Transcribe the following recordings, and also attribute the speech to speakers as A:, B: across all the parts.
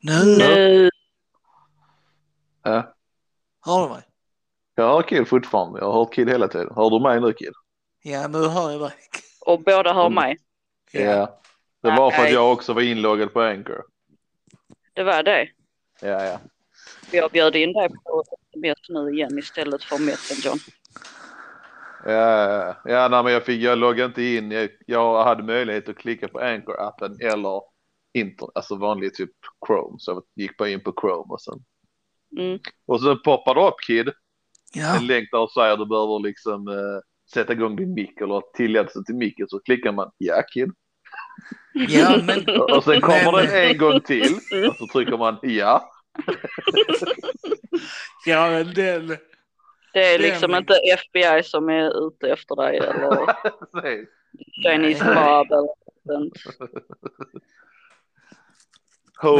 A: Nu!
B: Nu.
C: Ja.
A: Hör du mig?
C: Jag hör Kid fortfarande. Jag har hört Kid hela tiden. Hör du mig nu Kid?
A: Ja, nu hör jag dig.
B: Och båda hör
C: Mm.
B: mig.
C: Ja. Det var för att
B: Nej.
C: jag också var inloggad på Anchor.
B: Det var det.
C: Ja, ja.
B: Jag bjöd in dig på sms nu igen istället för Messenger.
C: Ja, ja, ja. ja nej, men jag, fick, jag loggade inte in. Jag, jag hade möjlighet att klicka på Anchor-appen eller inter, alltså vanlig typ Chrome. Så jag gick bara in på Chrome och sen.
B: Mm.
C: Och sen poppar det upp Kid.
A: Ja,
C: En länk där och säger att du behöver liksom eh, sätta igång din mick eller tillägga till micken. Så klickar man ja Kid.
A: ja men
C: Och- Och sen kommer
A: Men-
C: den en gång till. Och så trycker man ja.
A: ja, men den...
B: Det är
A: Det är
B: liksom
A: min-
B: inte FBI som är ute efter dig eller
C: Nej.
B: Chinese mob eller sånt.
A: Men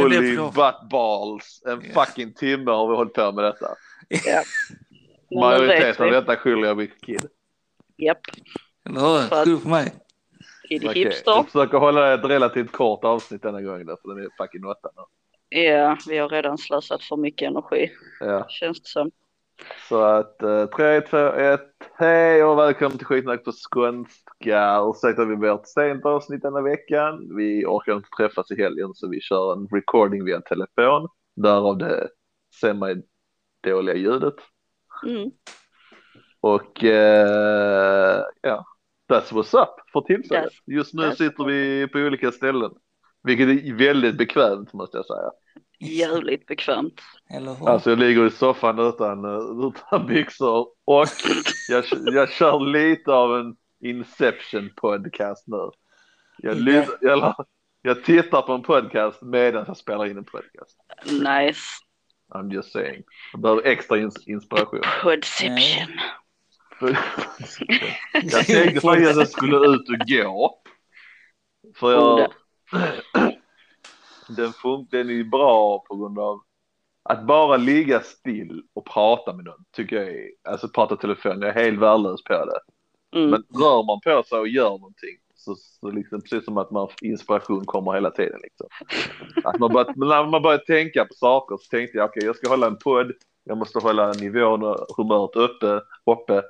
A: det är
C: Holy
A: bra.
C: butt balls. En
A: Ja.
C: fucking timme har vi hållit på med detta.
B: Men nu vet
C: Majoriteten av
B: vi.
C: detta skyller jag Wicked Kid.
B: Japp,
A: Eller hur?
B: För att-
A: Skyll på mig.
B: Kid
C: Okej,
B: Hipster.
C: Jag försöker hålla ett relativt kort avsnitt denna gången därför den är fucking åtta nu.
B: Ja, vi har redan slösat för mycket energi
C: Ja.
B: känns det som.
C: Så att eh, tre, två, ett, hej och välkommen till skitsnack på skånska. Ursäkta vi blir ett sent avsnitt denna veckan. Vi orkar inte träffas i helgen så vi kör en recording via telefon. Därav det semi-dåliga ljudet.
B: Mm.
C: Och eh, ja, that's what's up för tillfället.
B: That's-
C: Just nu
B: that's-
C: sitter vi på olika ställen, vilket är väldigt bekvämt måste jag säga.
B: Jävligt bekvämt.
A: Eller hur?
C: Alltså jag ligger i soffan utan, eh, utan byxor och jag, jag kör lite av en Inception podcast nu. Jag, lys- eller, jag tittar på en podcast medan jag spelar in en podcast.
B: Nice.
C: I'm just saying. Jag behöver extra ins- inspiration.
B: Podception.
C: Jag tänkte faktiskt att jag skulle ut och gå. För jag... Den, fun- den är ju bra på grund av att bara ligga still och prata med någon tycker jag är, alltså prata telefon, jag är helt värdelös på det.
B: Mm.
C: Men rör man på sig och gör någonting så, så liksom precis som att man inspiration kommer hela tiden liksom. Att man börjar, men när man börjar tänka på saker så tänkte jag okej jag ska hålla en podd, jag måste hålla nivån och humöret uppe, uppe.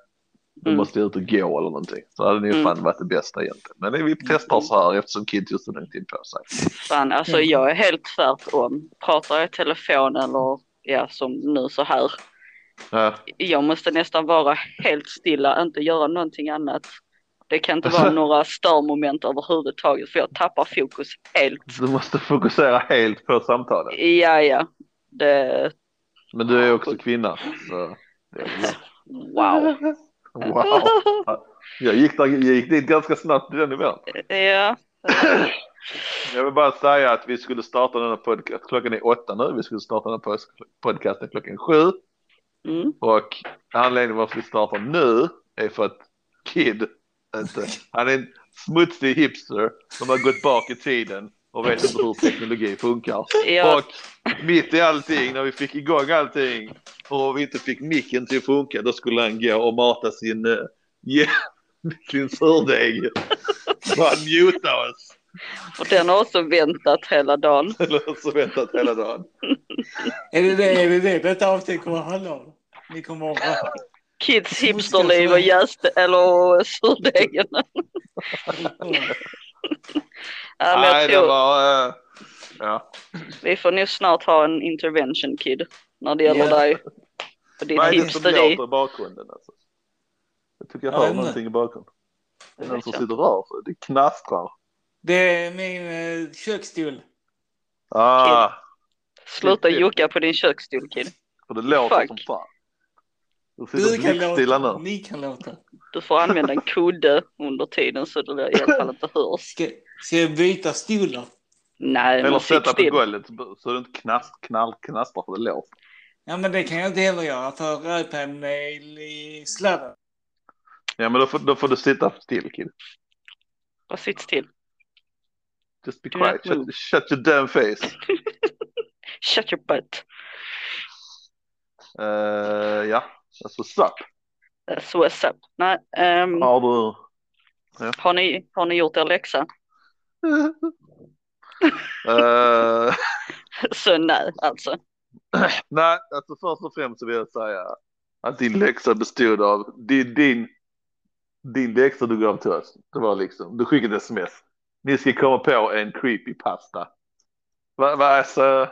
C: Då
B: Mm.
C: måste jag ut och gå eller någonting. Så hade det ju
B: Mm.
C: fan varit det bästa egentligen. Men vi testar så här eftersom Kid just nu inte är på sig.
B: Fan, alltså
A: Mm.
B: jag är helt tvärtom. Pratar jag i telefon eller ja, som nu så här.
C: Ja.
B: Jag måste nästan vara helt stilla, inte göra någonting annat. Det kan inte
C: Alltså-
B: vara några störmoment överhuvudtaget för jag tappar fokus helt.
C: Du måste fokusera helt på samtalet.
B: Ja, ja. Det...
C: Men du är också kvinna. Så.
B: Wow.
C: Wow. Jag gick, där, jag gick dit ganska snabbt till den nivån.
B: ja.
C: Jag vill bara säga att vi skulle starta den här podcasten. Klockan är åtta nu. Vi skulle starta den här pod- podcasten klockan sju.
B: Mm.
C: Och anledningen varför vi startar nu är för att Kid, inte, han är en smutsig hipster som har gått bak i tiden och vet inte hur teknologi funkar.
B: Ja.
C: Och mitt i allting, när vi fick igång allting och vi inte fick micken till att funka, då skulle han gå och mata sin, eh, ge- sin surdeg. Så han mutade oss,
B: Och den har också väntat hela dagen.
C: eller så väntat hela dagen.
A: Är det det, är det det detta avsnitt kommer att handla om? Ni kommer att vara
B: Kids hipsterliv och jäst eller surdegen. Ja, men
C: Nej,
B: jag
C: det
B: tror
C: var... eh, ja.
B: vi får nog snart ha en intervention kid när det gäller
A: Ja.
B: dig och din
C: Vad är det som
B: hipsteri.
C: låter i bakgrunden? Alltså? Jag tycker jag
A: Jag
C: hör
A: vet inte.
C: någonting i bakgrunden. Det är
B: Det
C: någon
B: vet
C: som
B: jag.
C: sitter och rör sig. Det knastrar.
A: Det är min eh, köksstol.
C: Ah,
B: Sluta
C: Kid.
B: jucka på din köksstol kid.
C: för det låter
B: Fuck.
C: som fan. Du
A: Du
C: sitter
A: kan
C: blickstilla
A: låta.
C: nu.
A: Ni kan låta.
B: Du får använda en kudde under tiden så det i alla fall inte hörs.
A: Ska, ska jag byta stolar?
B: Nej,
C: Eller
B: men sitt
C: sätta på
B: still.
C: golvet så- så det inte knast, knall, knastrar för det låter.
A: Ja, men det kan jag inte heller göra för iPaden är i sladden.
C: Ja men då får, då får du sitta still kid.
B: Och sitt still.
C: Just be
B: Do
C: quiet.
B: not move.
C: Shut, shut your damn face.
B: Shut your butt.
C: Eh, ja, alltså sup.
B: That's Eh, what's up. Nej, ehm,
C: Har du...
B: har, ni, har ni gjort er läxa?
C: Eh,
B: Så nej, alltså.
C: Nej, alltså först och främst så vill jag säga att din läxa bestod av din, din, din läxa du gav till oss. Det var liksom, du skickade ett sms. Ni ska komma på en creepy pasta. Vad, vad alltså,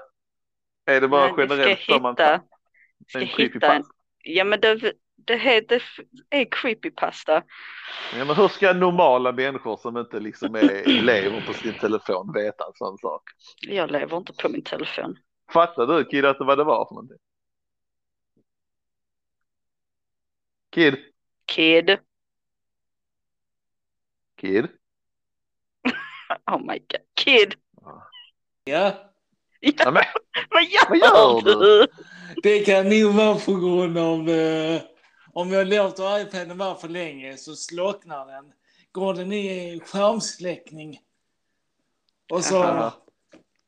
C: är det bara
B: Men vi
C: generellt
B: ska
C: som man
B: hitta, ska
C: en
B: hitta en,
C: creepypasta?
B: ja men det, det, här, det är creepypasta.
C: Ja, men hur ska normala människor som inte liksom är, lever på sin telefon veta en sån sak?
B: Jag lever inte på min telefon.
C: Fattar du Kid att vad det var för någonting? Kid?
B: Kid,
C: Kid?
B: oh my god, kid,
A: Ja,
C: Ja, men,
B: vad gör,
C: Vad gör
B: du?
C: du?
A: det kan nog vara på grund av... Eh, om jag låter iPaden vara för länge så slocknar den. Går den i skärmsläckning. Och så...
C: Aha.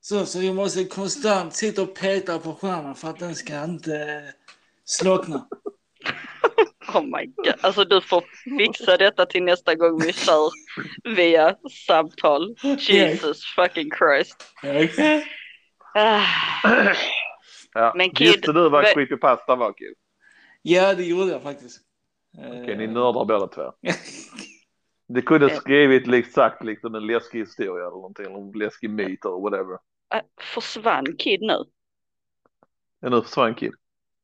A: Så, så jag måste konstant sitta och peta på skärmen för att den ska inte eh, slockna.
B: Oh my god, alltså du får fixa detta till nästa gång vi kör via samtal. Jesus fucking Christ.
A: Okej.
B: Ah,
C: ja.
B: Men Kid,
C: Visste du vad
B: vad-
C: creepypasta var Kid?
A: Ja, det gjorde jag faktiskt. Eh,
C: Okej, ni nördar båda två. Det kunde skrivit exakt liksom en läskig historia eller någonting, eller en läskig myt eller whatever.
B: ah, försvann kid nu?
C: Men nu försvann Kid.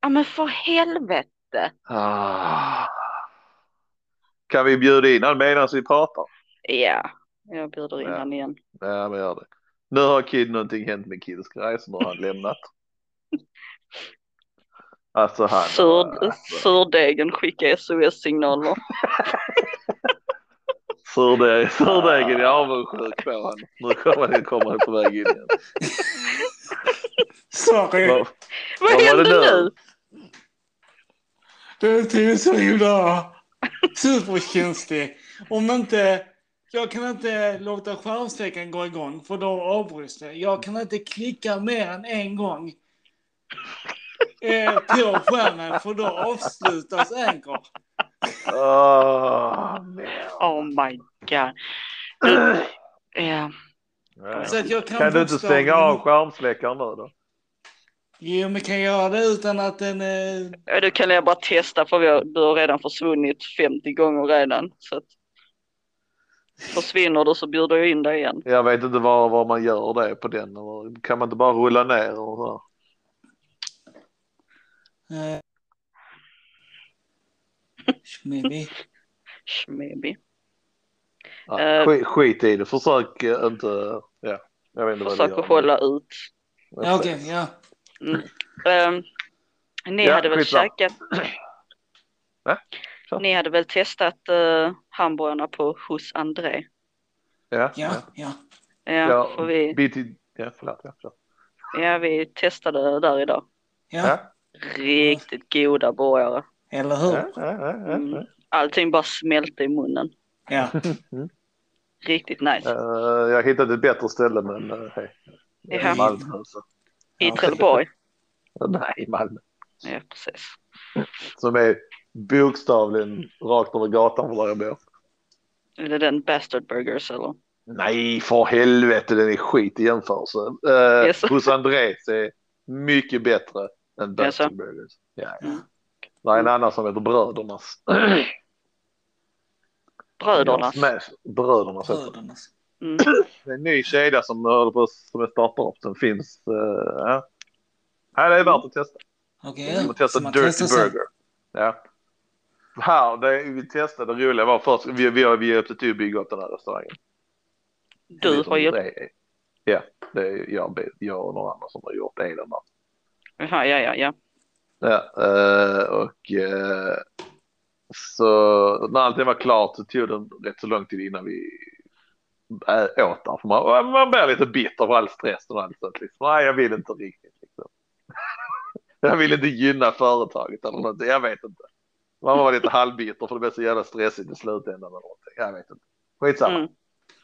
B: Ja men för helvete.
C: Ah. Kan vi bjuda in han medan vi pratar?
B: Ja, jag bjuder in
C: Ja.
B: han igen.
C: Ja, men gör det. Nu har Kid någonting hänt med Kids grej, så nu har han lämnat. Alltså han.
B: Sur,
C: alltså,
B: surdegen skickar SOS-signaler.
C: surde- Surdegen är avundsjuk på honom. Nu kommer han, kommer han på väg in igen.
A: Sorry,
C: Vad-
B: Vad
C: Vad var
B: hände
C: det nu?
B: nu?
A: du är tydligen så himla superkänslig. Om inte... Jag kan inte låta skärmsläckaren gå igång för då avbryts det. Jag kan inte klicka mer än en gång eh, på skärmen för då avslutas Anchor.
C: Åh, men.
B: Oh my god. Ja,
C: Ja.
A: Så att jag kan,
C: Kan du inte stänga
A: bokstavligen-
C: av skärmsläckaren nu då?
A: Jo, men kan jag göra det utan att den... Eh,
B: Ja, du kan jag bara testa för vi har, du har redan försvunnit 50 gånger redan. Så att, försvinner du så bjuder jag in dig igen.
C: Jag vet inte var, var man gör det på den. Eller Kan man inte bara rulla ner och så?
A: eh, Maybe.
B: Schmebi.
C: Ja,
B: Eh.
C: skit, skit i det. Försök eh, inte. Ja, jag vet inte vad
B: Försök
C: du gör.
B: att hålla ut.
A: Ja, Okej, ja.
B: Ehm, ni
C: Ja,
B: hade väl
C: skitsamma.
B: käkat?
C: Va? Så.
B: Ni hade väl testat uh, hamburgarna på hos André?
C: Ja, ja.
A: Ja, ja.
B: Ja,
C: Ja.
B: för vi,
C: Bit i... Ja, förlåt. Ja, förlåt.
B: ja, vi testade där idag.
A: ja.
B: Riktigt goda burgare.
A: Eller
C: Ja,
A: hur?
C: ja, ja, ja,
B: Mm.
C: ja.
B: Allting bara smälte i munnen.
A: Ja.
B: Riktigt nice.
C: Eh, jag hittade ett bättre ställe men eh, hej.
B: Ja.
C: Malmö. Så.
B: I Trelleborg.
C: Nej, Malmö.
B: Ja, precis.
C: Som är bokstavligen rakt över gatan från där jag bor.
B: Är det den Bastard Burgers eller?
C: Nej, för helvete, den är skit i jämförelse. Eh,
B: Yes.
C: Hos Andres är mycket bättre än Best
B: Yes.
C: Burgers. Ja, ja.
A: Mm.
C: Det är en annan som heter Brödernas.
B: Brödernas.
C: Smash- Brödernas heter
A: Bröderna.
B: Mm.
C: det. En ny kedja som håller på som är startup som finns. eh, ja. ja, det är värt att testa.
A: Okej.
B: Mm.
C: Yeah. Man testar
A: så man
C: Dirty
A: testar sig.
C: Burger. Ja. Här, det vi testade, det roliga var först, vi, vi, har- vi hjälpte till att bygga upp den här restaurangen. Jag
B: Du
C: vet
B: har
C: inte
B: ju...
C: om det är- Ja, det är jag, jag och några andra som har gjort elen där.
B: Ja, ja, ja. ja.
C: Ja, eh, och eh, så när allting var klart så tog det rätt så lång tid innan vi ä- åt där. För man, man blir lite bitter för all stress och allt sånt. Liksom. Nej, jag vill inte riktigt. Liksom. jag vill inte gynna företaget eller någonting. Jag vet inte. Man var lite halvbitter för det blev så jävla stressigt i slutändan. Eller någonting. Jag vet inte. Skitsamma.
B: Mm.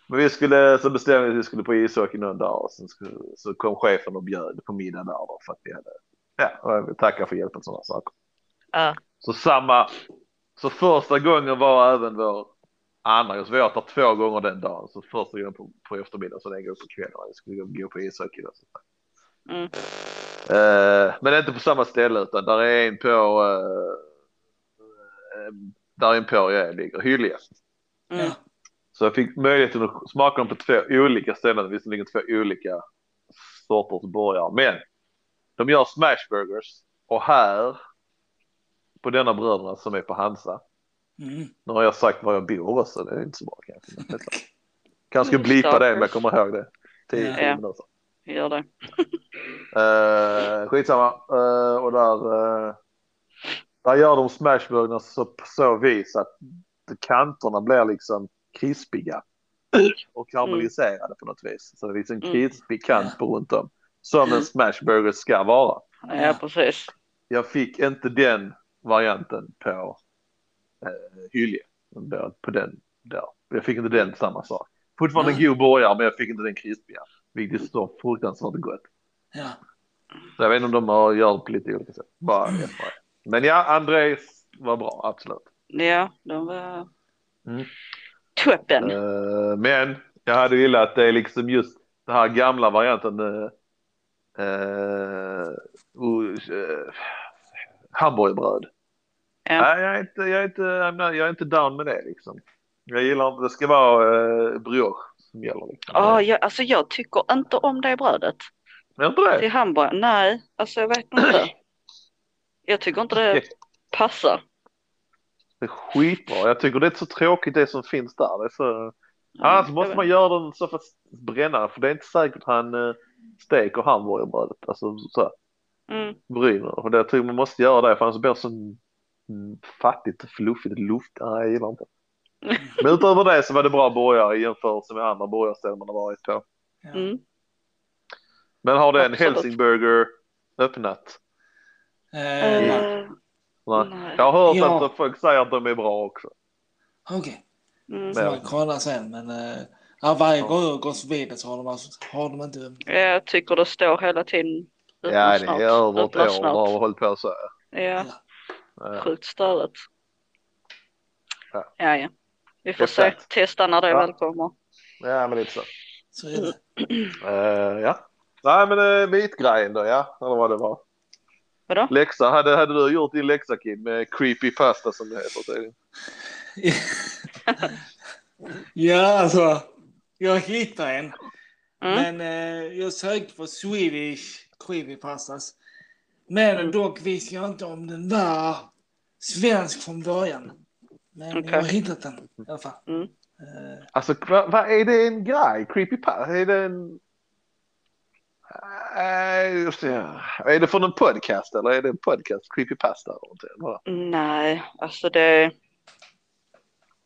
C: Men vi skulle, så bestämde vi att vi skulle på ishockey någon dag och sen skulle, så kom chefen och bjöd på middag där då för att vi hade, ja, och vi tackar för hjälpen sådana saker.
B: Ja.
C: Så samma, så första gången var även vår andra, så vi åt där två gånger den dagen, så första gången på, på eftermiddagen så den gången på kvällen när vi skulle gå på ishockey. Då, så.
B: Mm.
C: Eh, men det är inte på samma ställe utan där är en på eh, eh, där är en på jag ligger Hyllie.
B: Mm.
A: Ja.
C: Så jag fick möjligheten att smaka dem på två olika ställen, visserligen två olika sorters burgare. Men de gör smashburgers och här på denna bröderna som är på Hansa.
A: Mm.
C: Nu har jag sagt var jag bor också, det är inte så bra kanske. Kanske blipa det om jag kommer ihåg det. 10
A: Ja.
C: minuter.
B: Gör det.
C: Uh, skitsamma. Eh, och där, eh, där gör de smashburgarna så, på så vis att kanterna blir liksom krispiga och karamelliserade på något vis. Så det är liksom
B: Mm.
C: krispig kant på runt om. Som en smashburger ska vara.
B: Ja, precis.
C: Jag fick inte den varianten på uh, Hylje. På- På den där. Jag fick inte den samma sak. Fortfarande en god burgare men jag fick inte den krispiga. Vilket är så fruktansvärt gott.
A: Ja.
C: Så Jag vet inte om de har gjort på lite olika sätt. Bara FYI. Men ja, Andres var bra, absolut.
B: Ja, de var
C: Mm.
B: toppen.
C: Eh, men jag hade gillat att det är liksom just den här gamla varianten. eh, Uh, oh, eh, hamburgerbröd.
B: Ja.
C: Nej, jag är, inte, jag, är inte, I'm not- jag är inte down med det liksom. Jag gillar inte, det ska vara uh, brioche som gäller. Liksom.
B: Ja, jag, alltså jag tycker inte om det brödet.
C: Gör inte det?
B: Till hamburgaren, nej. Alltså jag vet inte. Jag tycker inte det passar.
C: Det är skitbra. Jag tycker det är så tråkigt det som finns där. Det är så...
B: Ja,
C: Annars
B: jag
C: måste
B: vet.
C: man göra den så för att bränna den, för det är inte säkert han eh, steker hamburgerbrödet. Alltså så här,
B: Mm,
C: bryner. Och det jag tror man måste göra det för annars blir det så mm, fattigt och fluffigt. Luft. Nej, jag gillar inte. Men utöver det så var det bra burgare i jämförelse med andra burgarställen man har varit på.
A: Ja.
B: mm.
C: Men har den
B: Absolut.
C: Helsingburger öppnat?
A: Eh, nej.
B: Eh,
C: Nej.
B: Nej.
C: Jag har hört
A: Ja.
C: att folk säger att de är bra också.
A: Okej,
B: mm.
A: så man kollar sen. Men eh, ja, varje
C: Ja.
A: gång jag går förbi det så har de, alltså- har de inte...
B: Jag tycker det står hela tiden. öppna
C: Ja, det
B: snart,
C: är över ett
B: öppna
C: år
B: snart.
C: de har hållit på så. här.
B: Ja,
C: Eh,
B: sjukt störigt.
C: Ja.
B: Ja, ja. Vi får
C: Det är
B: se.
C: sant.
B: Testa när det
C: Ja.
B: väl kommer.
C: Ja, men lite så.
A: Så är det.
C: Eh, ja. Nej men uh, mytgrejen då ja, eller vad det var.
B: Vadå?
C: Läxa, hade, hade du gjort din läxa Kim med creepy pasta som det heter tydligen?
A: ja, alltså. Jag hittar en.
B: Mm.
A: Men eh, jag sökte på Swedish creepypastas. Men
B: Mm.
A: dock visste jag inte om den var svensk från början. Men
B: Okej.
A: jag har hittat den i alla fall.
B: Mm.
A: Eh,
C: Alltså vad va, är det en grej? Creepy pasta? Är det en... Eh, just det, ja. Är det från en podcast eller är det en podcast? Creepy pasta? eller någonting, eller?
B: Nej, alltså det...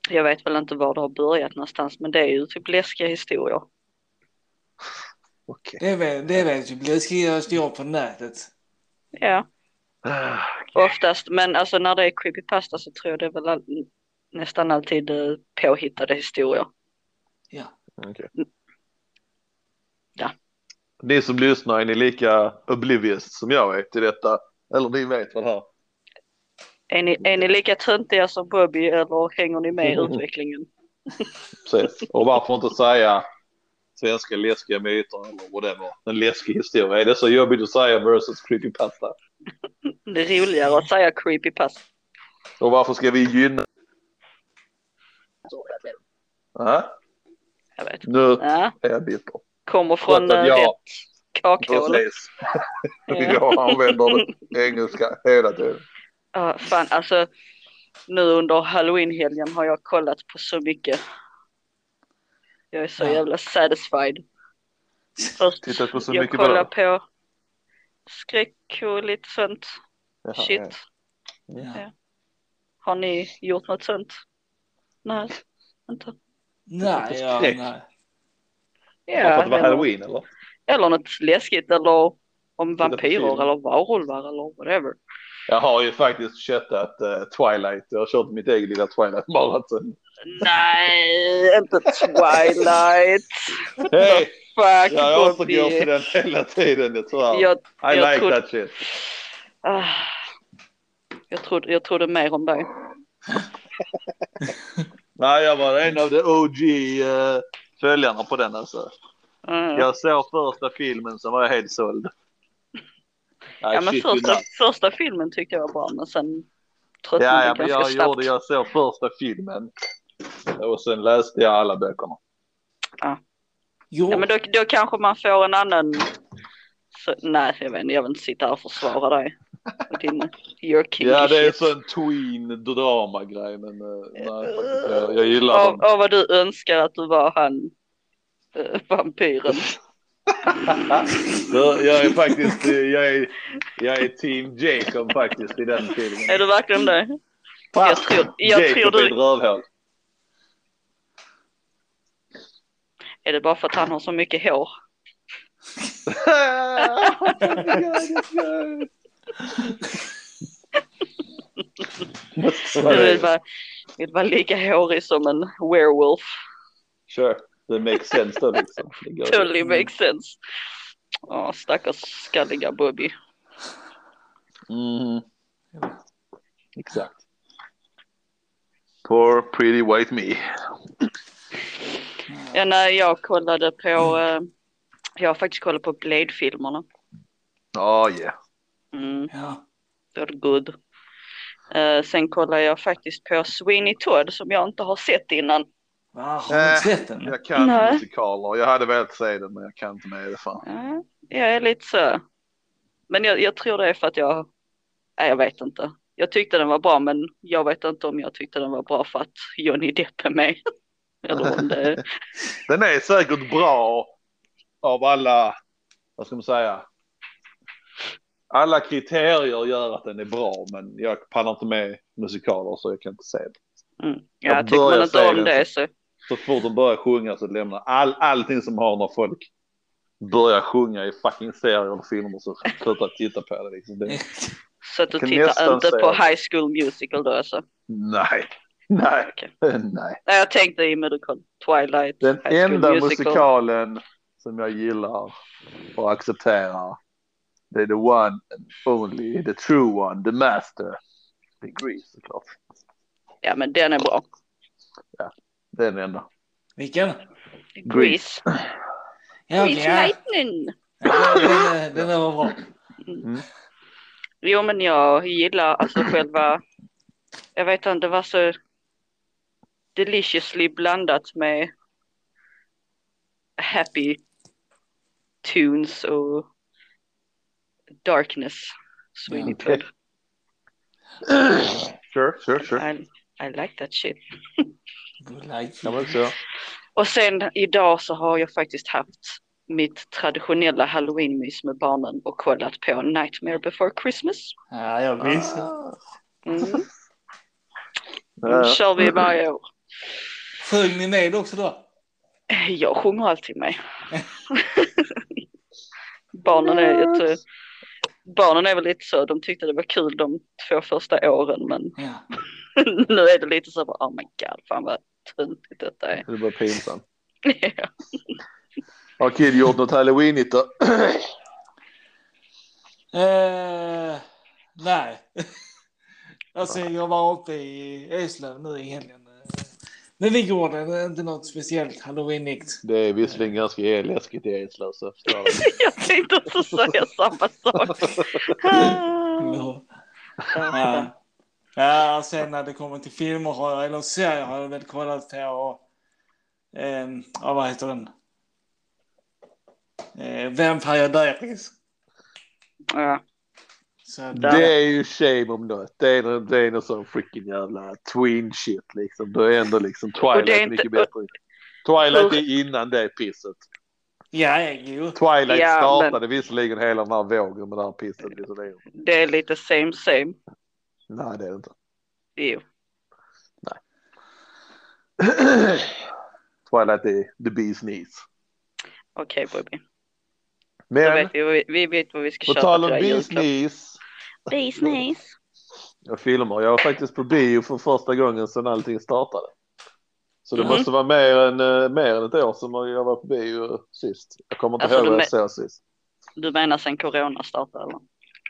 B: Jag vet väl inte var det har börjat någonstans, men det är ju typ läskiga historier.
C: Okej.
A: det är väl, det är väl typ läskiga står på nätet.
B: Ja,
C: Ah,
B: oftast. Men alltså när det är creepypasta så tror jag det är väl all... nästan alltid eh, påhittade historier.
A: Ja.
C: okej.
B: Ja.
C: Ni som lyssnar, är ni lika oblivious som jag är till detta? Eller ni vet vad det här?
B: Är ni, är ni lika töntiga som Bobby eller hänger ni med i
C: Mm.
B: utvecklingen?
C: Precis. Och varför inte säga svenska läskiga myter eller whatever. En läskig historia. Är det så jobbigt att säga versus creepypasta?
B: Det är roligare att säga creepypasta.
C: Och varför ska vi gynna... Aha,
B: Jag vet.
C: Äh? nu
B: Ja,
C: är jag bitter.
B: kommer från
C: Trots Mm. att
B: eh,
C: jag-
B: rätt kakhål.
C: Precis.
B: Ja.
C: Jag använder det engelska hela tiden.
B: Ja, fan alltså. Nu under halloween-helgen har jag kollat på så mycket. Jag är så
A: Ja.
B: jävla satisfied. Först,
C: Tittat på så
B: jag
C: mycket
B: kollar
C: bra.
B: på skräck och lite sånt
C: Jaha,
B: shit.
C: ja.
A: Ja.
B: Har ni gjort något sånt? Nej, inte.
A: Nej, ja,
C: Skräck.
A: nej.
C: Varför att det var
B: eller,
C: halloween eller?
B: eller något läskigt eller om
C: på film.
B: vampyrer eller varulvar eller whatever.
C: Jag har ju faktiskt köttat eh, Twilight. Jag har kört mitt eget lilla Twilight-maraton.
B: Nej, inte Twilight.
C: Hej!
B: Fuck
C: Jag återgår till
B: Bobby.
C: den hela tiden. Jag tror
B: Jag,
C: I
B: jag
C: like
B: trodde-
C: that shit.
B: ah, jag, trodde, jag trodde mer om dig.
C: Nej, jag var en av de OG-följarna på den alltså.
B: Mm.
C: Jag såg första filmen, sen var jag helt såld. Nej,
B: Ja, men
C: shit,
B: första,
C: innan.
B: första filmen tyckte jag var bra, men sen
C: Ja,
B: tröttnade
C: ja,
B: jag
C: men
B: ganska
C: jag
B: snabbt.
C: gjorde, jag såg första filmen. Och sen läste jag alla böckerna.
A: Jo,
B: Ja, men då, då kanske man får en annan... Så, nej, jag vet inte, jag vill inte sitta här och försvara dig. Och din, your kinky
C: Ja, det är en
B: shit.
C: sån tween drama grej, men eh, nej, faktiskt, jag, jag gillar
B: Av,
C: dem.
B: av vad du önskar att du var han eh, vampyren.
C: Så Jag är faktiskt, eh, jag är, jag är team Jacob faktiskt i den filmen.
B: Är du verkligen det? jag tror- jag
C: Jacob
B: tror du-
C: är ett rövhål.
B: Är det bara för att han har så mycket hår?
C: Måste vara
B: Du vill
C: det.
B: vara, vill vara lika hårig som en werewolf.
C: Sure, det makes sense då liksom. Det går.
B: Totally makes sense. Ja, stackars skalliga Bobby.
C: Mhm. Exakt. Poor pretty white me.
B: Ja, nej, jag kollade på... eh,
C: Mm.
B: jag har faktiskt kollat på Blade-filmerna.
C: Oh yeah.
B: Mm,
A: ja.
B: they're good. Eh, sen kollade jag faktiskt på Sweeney Todd som jag inte har sett innan.
A: Va, har
C: Äh,
A: du inte sett den?
C: Jag kan
B: Nej.
C: musikaler. Jag hade velat se den men jag kan inte med det fan.
B: Ja, Eh, jag är lite så... Men jag, jag tror det är för att jag... Nej, jag vet inte. Jag tyckte den var bra, men jag vet inte om jag tyckte den var bra för att Johnny Depp är med. Eller om det...
C: Den är säkert bra av alla, vad ska man säga? Alla kriterier gör att den är bra men jag pallar inte med musikaler så jag kan inte se den.
B: Mm.
C: Jag
B: Ja, tycker man
C: börjar
B: inte om
C: säga
B: det
C: det.
B: så...
C: Så fort de börjar sjunga så lämnar all, allting som har när folk börjar sjunga i fucking serier och filmer så slutar jag titta på det liksom. Det,
B: Så att du
C: Kan
B: tittar
C: nästan
B: inte
C: säga
B: på
C: det.
B: High School Musical då alltså.
C: nej, nej,
B: Okej.
C: nej.
B: Nej, jag tänkte i Medical Twilight.
C: Den
B: High School
C: enda musikalen som jag gillar och accepterar det är the one and only, the true one, the master. Det är Grease såklart.
B: Ja, men den är bra.
C: Det är den enda.
A: Vilken?
B: Grease.
A: Ja,
B: Grease
A: ja.
B: Lightning.
A: Den, den, den var bra.
B: Jo, men jag gillar alltså själva... Jag vet inte, det var så deliciously blandat med happy tunes och darkness. Sweeney
C: Ja.
B: Todd.
C: Sure, sure, sure.
B: I, I like that shit.
A: Good light.
C: Ja, men så.
B: Och sen idag så har jag faktiskt haft mitt traditionella halloweenmys med barnen och kollat på Nightmare before Christmas.
A: Ja, jag visste.
B: Mm. Den
C: Ah. Ja.
B: kör vi varje år.
A: Sjöng ni med också då?
B: Jag sjunger alltid med. barnen, är lite, barnen är väl lite så, de tyckte det var kul de två första åren men
A: Ja.
B: nu är det lite så bara oh my god, fan vad töntigt detta är.
C: Det var pinsamt. Har Kid gjort något halloweenigt då?
A: Eh, nej. alltså, jag var uppe i Eslöv nu i helgen. Men vi gjorde det, inte något speciellt halloweenigt.
C: Det är visserligen ganska läskigt i Eslöv så förstår jag.
B: jag tänkte också säga samma sak. Mm. Ah.
A: Ja. Ja. ja, sen när det kommer till filmer har jag, eller serier har jag väl kollat på eh, ja, vad heter den? Eh, Vampire Diaries.
B: ja.
A: Så att,
B: Där.
C: Det är ju shame om något. Det är, det är någon sån freaking jävla tween shit liksom. Då är ändå liksom Twilight
B: det är inte-
C: mycket bättre. Twilight är innan det pisset.
A: ja, jo.
C: Twilight
B: Ja,
C: startade visserligen hela den här vågen med det här pisset. Visserligen.
B: Det är lite same same.
C: Nej, det är det inte.
B: Jo.
C: Twilight är the bees knees.
B: Okej Bobby, Då
C: Men
B: vet vi, vad vi- vi vet vad vi ska
C: på
B: köpa
C: tal
B: till
C: om
B: dig i
C: bees
B: julklapp.
C: knees
B: Business.
C: och filmer. Jag var faktiskt på bio för första gången sedan allting startade. Så det
B: Mhm.
C: måste vara mer än, eh, mer än ett år sedan jag var på bio sist. Jag kommer inte
B: Alltså,
C: ihåg
B: de
C: vad
B: är-
C: jag såg sist.
B: Du menar sen corona startade eller?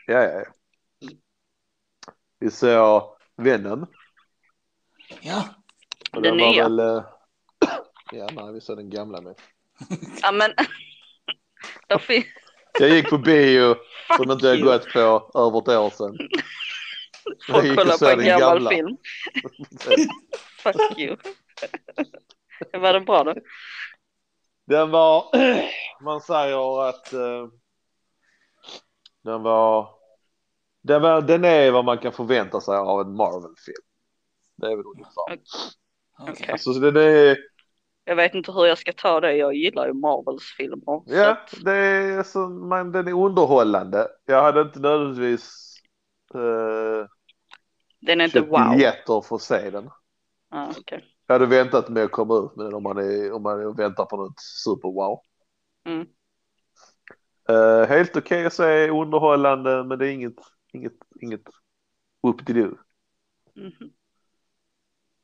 C: Ja, ja, ja. Vi såg Venom.
A: Ja.
C: Och
B: Den
C: den var
B: nya?
C: väl, eh, ja, nej, vi såg den gamla med.
B: Ja men. Då fin-
C: Jag gick på bio som inte jag
B: you.
C: gått på över ett år sedan. Jag
B: Och
C: gick och
B: kolla på
C: såg
B: en
C: den
B: gammal
C: gamla.
B: film. Fuck you. Var den bra då?
C: Den var, man säger att eh, den var, den var, den är vad man kan förvänta sig av en Marvel-film. Det är väl ungefär.
A: Okej.
B: Okej.
C: Alltså den är,
B: Jag vet inte hur jag ska ta det. Jag gillar ju Marvels filmer. så
C: ja,
B: att-
C: det är, så, man, den är underhållande. Jag hade inte nödvändigtvis eh,
B: Den är inte
C: köpt
B: wow.
C: biljetter för att se den.
B: Ah, okej.
C: Jag hade väntat med att komma ut med den om man, är, om man väntar på något super-wow.
B: Mm.
C: Eh, helt okej att se, underhållande, men det är inget, inget, inget upp till du.
B: Mhm.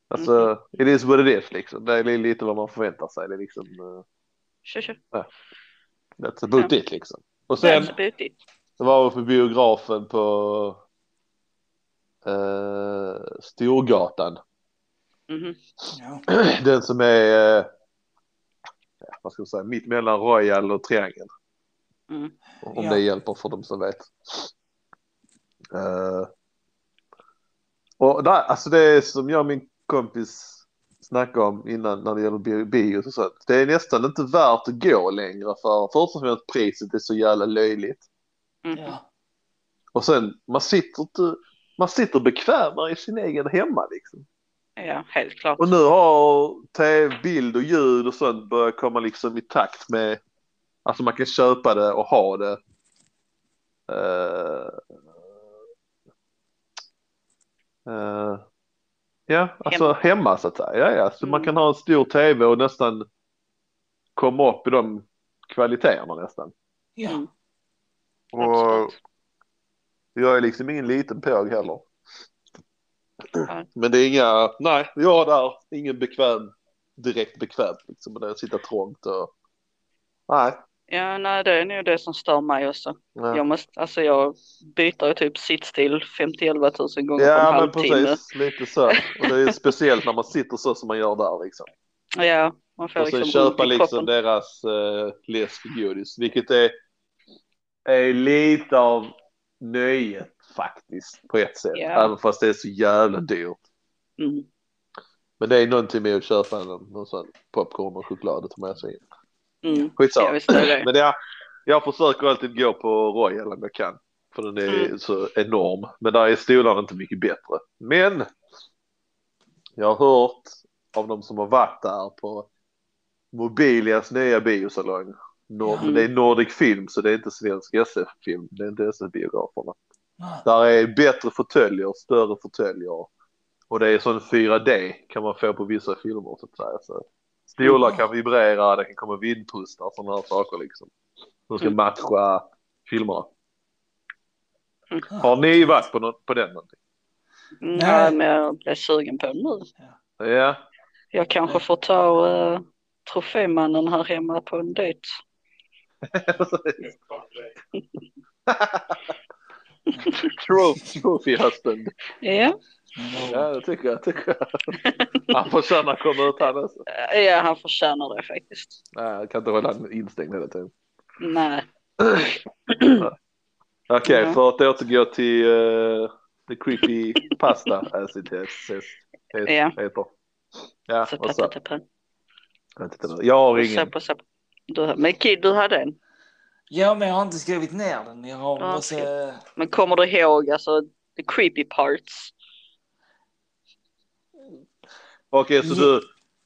C: Alltså, it is what it is liksom. Det är lite vad man förväntar sig. Det är liksom, eh,
B: Tjo, tjo.
C: that's about it liksom. Och sen
B: That's about it.
C: så var vi på biografen på eh, Storgatan.
B: Mhm.
A: Ja.
C: Den som är, eh, vad ska man säga, mitt mellan Royal och Triangeln.
B: Mm.
C: Om
A: Ja.
C: det hjälper för dem som vet. Eh, och där, alltså det är som jag och min kompis snackade om innan när det gäller bio- bio och sånt. Det är nästan inte värt att gå längre för först och främst priset är så jävla löjligt.
B: Mhm.
A: Ja.
C: Och sen man sitter inte, man sitter bekvämare i sin egen hemma liksom.
B: Ja, helt klart.
C: Och nu har tv, bild och ljud och sånt börjat komma liksom i takt med, alltså man kan köpa det och ha det. Eh, eh, ja, alltså hemma. så att säga. Ja, ja. Så
B: Mm.
C: man kan ha en stor tv och nästan komma upp i de kvaliteterna nästan.
A: Ja.
C: Och
B: Absolut.
C: jag är liksom ingen liten påg heller.
B: Ja.
C: Men det är inga, nej, jag där, ingen bekväm, direkt bekvämt liksom. Och det är att sitta trångt och, nej.
B: Ja, nej, det är nog det som stör mig också.
C: nej.
B: Jag måste, alltså jag byter ju typ sittstil 50-11 tusen gånger på en
C: Ja men
B: halvtimme.
C: precis, lite så. Och det är speciellt när man sitter så som man gör där liksom.
B: Ja, man får
C: Och sen
B: liksom
C: köpa
B: ont i
C: liksom
B: kroppen.
C: deras uh, läsk och godis, vilket är, är lite av nöjet faktiskt på ett sätt.
B: Ja.
C: Även fast det är så jävla dyrt.
B: Mm.
C: Men det är någonting med att köpa en, någon sån popcorn och choklad och ta med sig in.
B: Mm. Ja,
C: Skitsamma.
B: visst är det.
C: Men jag, jag försöker alltid gå på Royal om jag kan. För den är
B: Mm.
C: så enorm. Men där är stolarna inte mycket bättre. Men! Jag har hört av de som har varit där på Mobilias nya biosalong. Nord,
B: Mm.
C: Det är Nordic Film så det är inte svensk SF-film. Det är inte SF-biograferna.
A: Ja.
C: Där är bättre fåtöljer, större fåtöljer. Och det är sån 4D kan man få på vissa filmer så att säga. Så stolar kan vibrera, det kan komma vindpustar och sådana här saker liksom. De ska
B: Mm.
C: matcha filmerna.
B: Mm.
C: Har ni varit på, nå- på den någonting?
B: Mm,
A: Nej.
B: ja, men jag blev sugen på den nu.
C: Ja,
B: Jag kanske får ta uh, trofémannen här hemma på en dejt.
C: Tro- trophy husband.
B: Mm. Ja,
C: Ja, det tycker jag. Tycker jag. Han får känna komma ut här alltså.
B: eh, ja han förtjänar det faktiskt.
C: Nej, jag kan inte hålla den instängd hela tiden.
B: Nej,
C: Okej,
B: Ja.
C: för att återgå till eh, the creepy pasta as it is, is, is,
B: Ja.
C: heter. Ja,
B: så
C: och så.
B: patatapan.
C: Jag tittar nu. Jag har
B: Och så
C: ingen.
B: på så på. Du, men Kid, du hade en.
A: ja, men jag har inte skrivit ner den. Jag har
B: Ja,
A: måste...
B: Men kommer du ihåg alltså the creepy parts?
C: Okej, så
B: Mm.
C: du,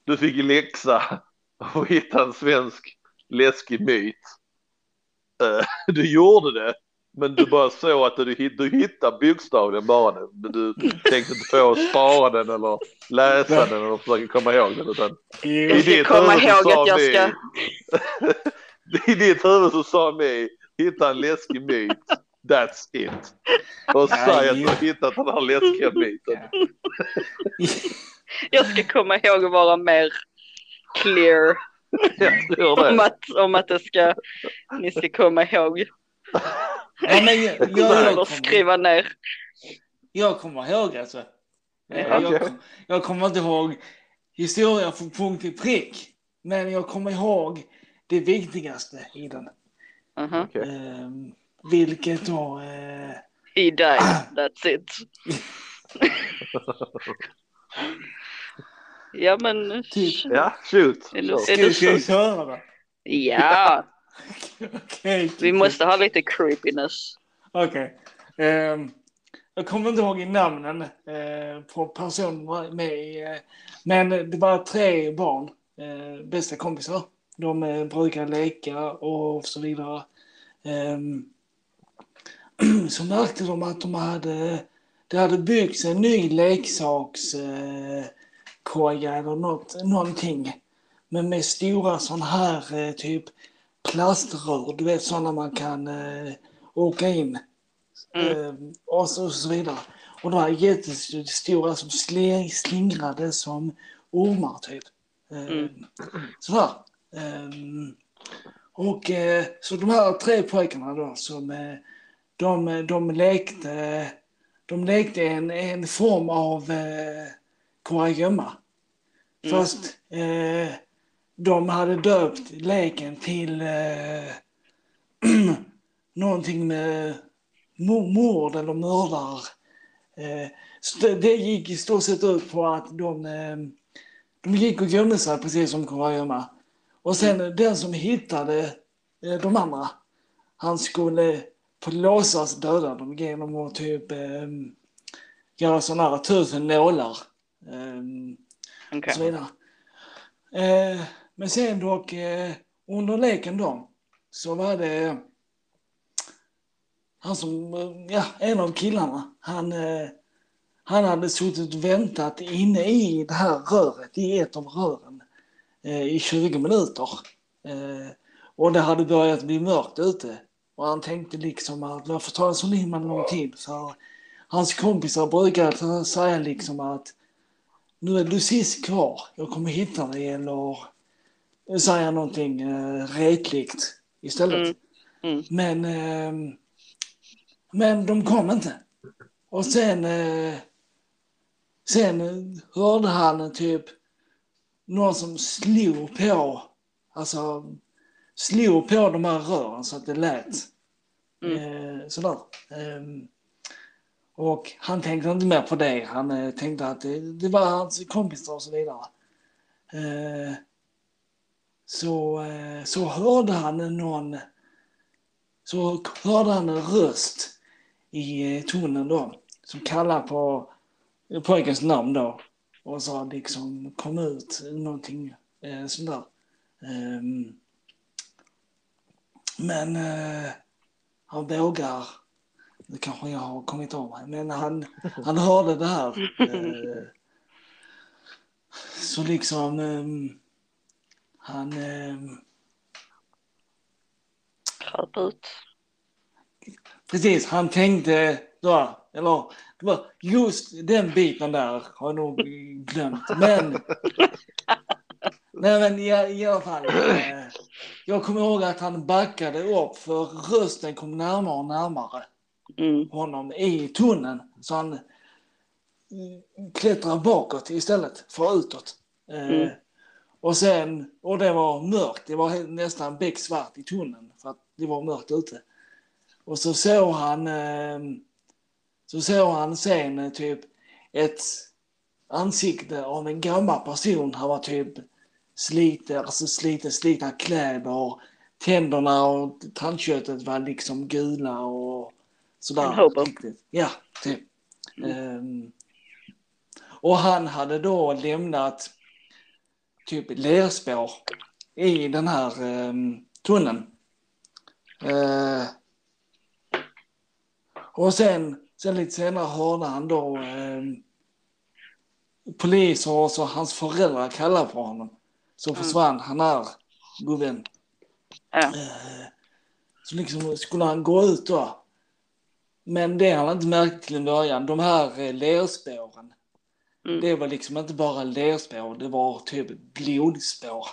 C: du fick i läxa att hitta en svensk läskig myt. Eh, du gjorde det, men du bara såg att du, hit- du hittade bokstavligen bara den. Men du tänkte inte på att spara den eller läsa den eller försöka komma ihåg den. Utan
A: Jo.
B: Jag
C: I
B: ska
C: ditt
B: komma
C: huvud
B: ihåg
C: sa
B: att jag
C: ni-
B: ska...
C: I ditt huvud så sa ni hitta en läskig myt, that's it. Och
A: Ja,
C: säg att
A: ju.
C: du har hittat den här läskiga myten.
B: Jag ska komma ihåg att vara mer clear
C: Jag tror
B: om
C: det.
B: att, om att det ska, ni ska komma ihåg.
A: Ja, men jag, jag, jag,
B: Eller
A: kommer,
B: skriva ner.
A: jag kommer ihåg alltså.
B: Ja.
A: Jag, jag, jag kommer inte ihåg historien från punkt till prick. Men jag kommer ihåg det viktigaste i den.
B: Mhm.
C: Okej.
A: Ehm, vilket då... Eh,
B: He died, that's it. ja men.
A: Typ.
C: Ja, shoot.
B: Är det-
C: Kör.
A: ska, ska vi köra då?
B: Ja,
A: Okej.
B: vi måste ha lite creepiness.
A: Okej. Ehm, jag kommer inte ihåg namnen eh, på personerna med i, eh, Men det var tre barn, eh, bästa kompisar. De eh, brukar leka och så vidare. Ehm, så märkte de att de hade, det hade byggts en ny leksakskoja eh, koja eller något, någonting. Men med stora sån här eh, typ plaströr, du vet sådana man kan eh, åka in.
B: Mm.
A: Eh, och, så, och så vidare. Och de här jättestora som sle- slingrade som ormar typ. Eh,
B: Mm.
A: Sådär. Ehm, och eh, så de här tre pojkarna då som eh, de, de lekte de lekte en, en form av eh, kurragömma.
B: Mm.
A: Fast eh, de hade döpt leken till eh, någonting med mo- mord eller mördar. Eh, så det- det gick i stort sett ut på att de, eh, de gick och gömde sig precis som kurragömma. Och sen eh, den som hittade eh, de andra, han skulle på låtsas döda dem genom att typ eh, göra sådana här tusen nålar. Eh, och så
B: Okej.
A: vidare. Eh, men sen dock, eh, under leken då, så var det eh, han som, eh, ja, en av killarna, han, eh, han hade suttit och väntat inne i det här röret, i ett av rören, eh, i 20 minuter. Eh, och det hade börjat bli mörkt ute. Och han tänkte liksom att varför tar det så himla lång tid? För hans kompisar brukar säga liksom att nu är du sist kvar. Jag kommer hitta dig eller säga någonting eh, retligt istället.
B: Mm. Mm.
A: Men, eh, men de kom inte. Och sen, eh, sen eh, hörde han typ någon som slog på, alltså slog på de här rören så att det lät
B: Mm.
A: eh, sådär. Ehm, och han tänkte inte mer på det. Han eh, tänkte att det, det var hans kompisar och så vidare. Eh, så, eh, så hörde han någon så hörde han en röst i eh, tunneln då som kallade på pojkens namn då och sa liksom kom ut någonting eh, sånt där. Ehm, men eh, han vågar, nu kanske jag har kommit av mig, men han, han hörde det här. Eh, så liksom ehm, han ehm,
B: Kröp ut.
A: Precis, han tänkte då, eller det var just den biten där har jag nog glömt. Men, nej men i, i alla fall. eh, Jag kommer ihåg att han backade upp för rösten kom närmare och närmare
B: Mm.
A: honom i tunneln. Så han mm, klättrade bakåt istället för utåt. Eh,
B: Mm.
A: Och sen, och det var mörkt, det var he- nästan becksvart i tunneln för att det var mörkt ute. Och så såg han, eh, så såg han sen eh, typ ett ansikte av en gammal person. Han var typ sliten, alltså sliten, slitna kläder. Tänderna och tandköttet var liksom gula och sådär.
B: En hobo. Mm.
A: Riktigt. Ja, typ. Ehm, och han hade då lämnat typ lerspår i den här ehm, tunneln. Eh, och sen, sen lite senare hörde han då ehm, poliser och så hans föräldrar kallade på honom. Så försvann han här, gubben.
B: Mm. Ja.
A: Eh, Så liksom skulle han gå ut då. Men det han inte märkt till en början, de här eh, lerspåren.
B: Mm.
A: Det var liksom inte bara lerspår, det var typ blodspår.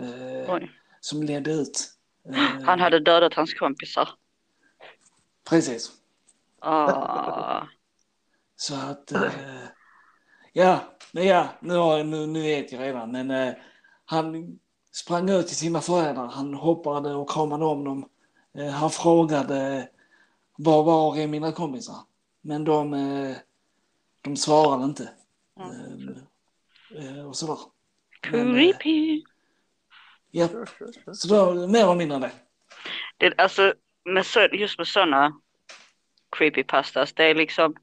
A: eh,
B: Oj.
A: Som ledde ut. Eh,
B: Han hade dödat hans kompisar.
A: Precis.
B: Ah.
A: Så att... Eh, ja, men ja nu, har jag, nu, nu vet jag redan. Men eh, han sprang ut till sina föräldrar. Han hoppade och kramade om dem. Eh, Han frågade var var är mina kompisar? Men de, eh, de svarade inte.
B: Ja.
A: Eh, eh, Och sådär. Men, eh,
B: Creepy.
A: Ja, så då mer eller mindre det.
B: Det, alltså, med, så- just med sådana creepypastas, det är liksom,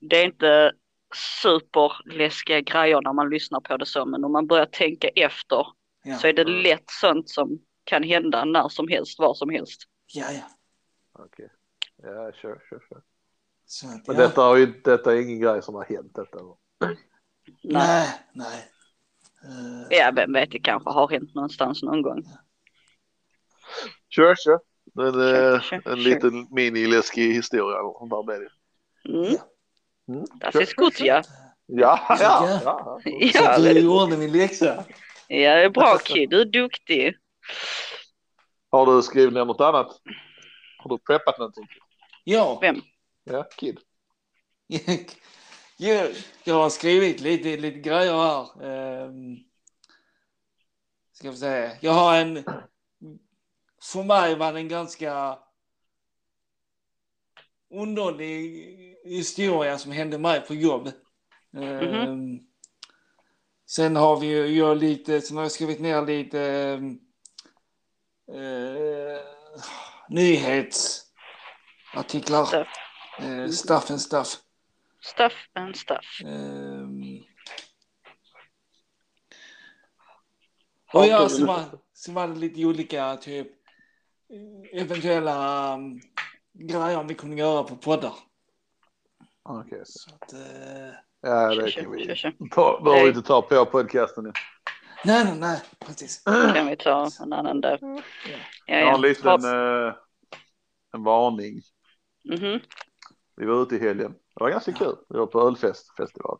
B: det är inte superläskiga grejer när man lyssnar på det så, men om man börjar tänka efter
A: Ja,
B: så är det
C: Mm.
B: lätt sånt som kan hända när som helst, var som helst.
A: ja. ja.
C: Okej. Ja, sure, sure, sure.
A: Så, att,
C: Men
A: ja.
C: detta, har ju, detta är ingen grej som har hänt detta. va?
A: Nej, nej. Eh,
B: Ja, vem vet, det kanske har hänt någonstans någon gång.
C: Sure, sure. Men eh,
B: sure,
C: en
B: sure.
C: liten miniläskig historia eller sånt där med det.
B: Mm.
C: Mm.
B: Das
C: Sure,
B: ist gut, ja.
C: Ja, ja,
A: Ja.
C: ja. ja.
B: Ja,
A: Så du
B: det-
A: gjorde min läxa.
B: ja, det är bra kid, du är duktig.
C: Har du skrivit ner något annat? Har du preppat någonting?
A: Ja.
B: Vem?
C: Ja, kid.
A: Jag, jag har skrivit lite, lite grejer här. Ehm, ska vi säga. Jag har en... För mig var det en ganska underlig historia som hände mig på jobb. Ehm, Sen har vi ju jag har lite, sen har jag skrivit ner lite ehm, eh, nyhetsartiklar.
B: Stuff.
A: Eh, stuff and stuff.
B: Stuff and stuff.
A: Ehm. Och ja, så var, så var det lite olika typ eventuella um, grejer vi kunde göra på poddar.
C: Ah, Okej. så-
A: Så att, eh,
C: Ja,
B: Kör,
C: det kan
B: kör,
C: vi
B: kör, kör.
C: ta. Behöver vi inte ta på podcasten. nu.
A: nej, nej, nej, precis.
B: kan vi ta en annan där. Ja,
C: Jag har en liten
B: Har-
C: eh, en varning.
B: Mhm.
C: Vi var ute i helgen. Det var ganska kul. Vi var på ölfest, festival.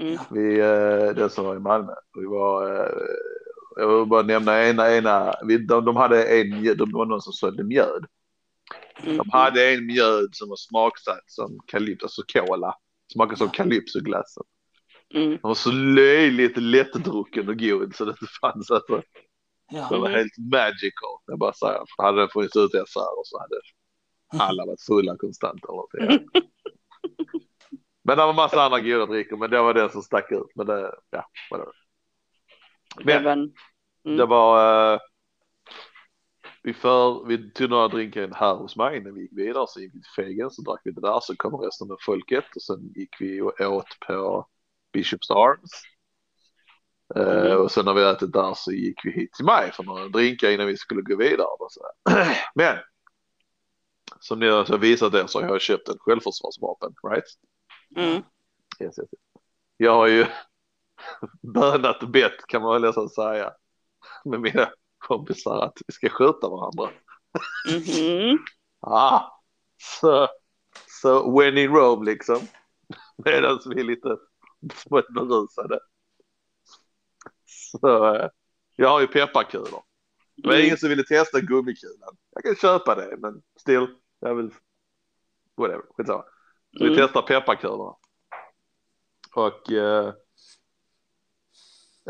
B: Mm.
C: Vi, eh, den som var i Malmö. Vi var, eh, jag vill bara nämna ena, ena. Vi, de, de hade en, mjö- de det var någon som sålde mjöd.
B: Mm.
C: De hade en mjöd som var smaksatt som kalypso, alltså cola. Smakade som kalypsoglassen.
B: Mm.
C: Den var så löjligt lättdrucken och god så det inte fanns. Alltså. Den
A: Ja,
C: var
B: Mhm.
C: helt magical. Jag bara säger, hade den funnits ute i affärer så hade alla varit fulla konstant. Eller något. Ja. Men det var massa andra goda drycker, men det var den som stack ut. Men det, ja, whatever. Men
B: Även...
C: det
B: Mm.
C: var... eh, vi, för, vi tog några drinkar in här hos mig innan vi gick vidare. Så gick vi till Fegen, så drack vi det där, så kom resten av folket och sen gick vi och åt på Bishops Arms. Eh,
B: Mhm.
C: Och sen när vi ätit där så gick vi hit till mig för några drinkar innan vi skulle gå vidare. Och så. här. Men som ni har visat er så har jag köpt en självförsvarsvapen, right?
B: Mm.
C: Yes, yes, yes. Jag har ju bönat och bett kan man väl nästan säga med mina kompisar att vi ska skjuta varandra.
B: Mhm.
C: Ah, så, så when in Rome liksom. Medan vi är lite smått berusade. Så eh, jag har ju pepparkulor. Det var
B: Mm.
C: ingen som ville testa gummikulan. Jag kan köpa det men still, jag vill... Whatever, skitsamma. Så vi
B: Mm.
C: testar pepparkulorna. Och eh,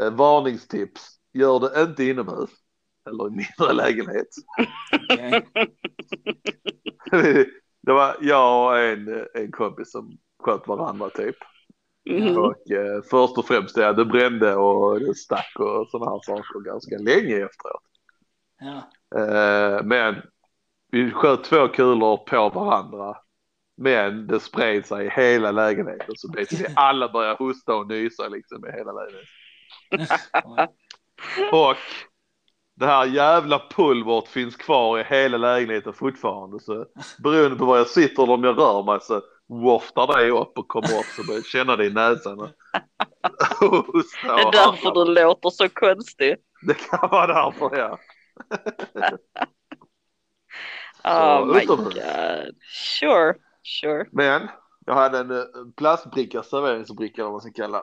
C: eh, varningstips. Gör det inte inomhus eller i mindre lägenhet.
A: okej.
C: det var jag och en, en kompis som sköt varandra typ.
B: Mhm.
C: Och eh, först och främst det, det brände och det stack och sådana här saker ganska länge efteråt.
A: Ja,
C: Eh, men vi sköt två kulor på varandra. Men det spred sig i hela lägenheten så basically alla började hosta och nysa liksom i hela lägenheten.
A: ja.
C: Och det här jävla pulvret finns kvar i hela lägenheten fortfarande. Så beroende på var jag sitter eller om jag rör mig så waftar det upp och kommer upp så börjar jag känna det i näsan. Och och hosta
B: Det är
C: och
B: därför du låter så konstig.
C: Det kan vara därför ja.
B: Oh
C: Så,
B: my
C: utomhus.
B: god. Sure, sure.
C: Men jag hade en, eh, en plastbricka, serveringsbricka eller vad man ska kalla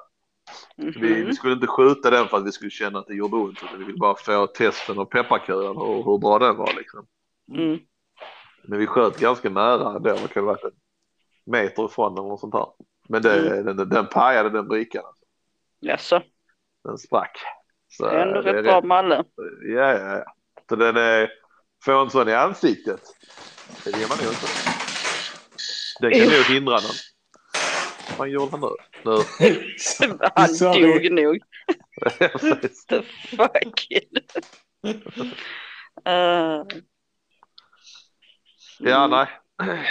C: Vi,
B: Mhm.
C: vi skulle inte skjuta den för att vi skulle känna att det gjorde ont. Utan vi ville bara få testen av pepparkulan och hur bra den var liksom.
B: Mm.
C: Men vi sköt ganska nära ändå. Vad kan det ha varit? En meter ifrån eller något sånt där. Men det,
B: Mm.
C: den, den pajade den brickan.
B: Jaså,
C: Den sprack. Så
B: det är ändå
C: det är
B: rätt bra
C: rätt-
B: med alla.
C: Ja, ja, ja. Så den är Få en sån i ansiktet. Det vill man nog inte. Den kan nog hindra någon. Vad fan gjorde han nu? nu.
B: Han
A: Sorry.
B: dog nog.
C: precis.
B: The fuck Eh, Mm.
C: ja, nej.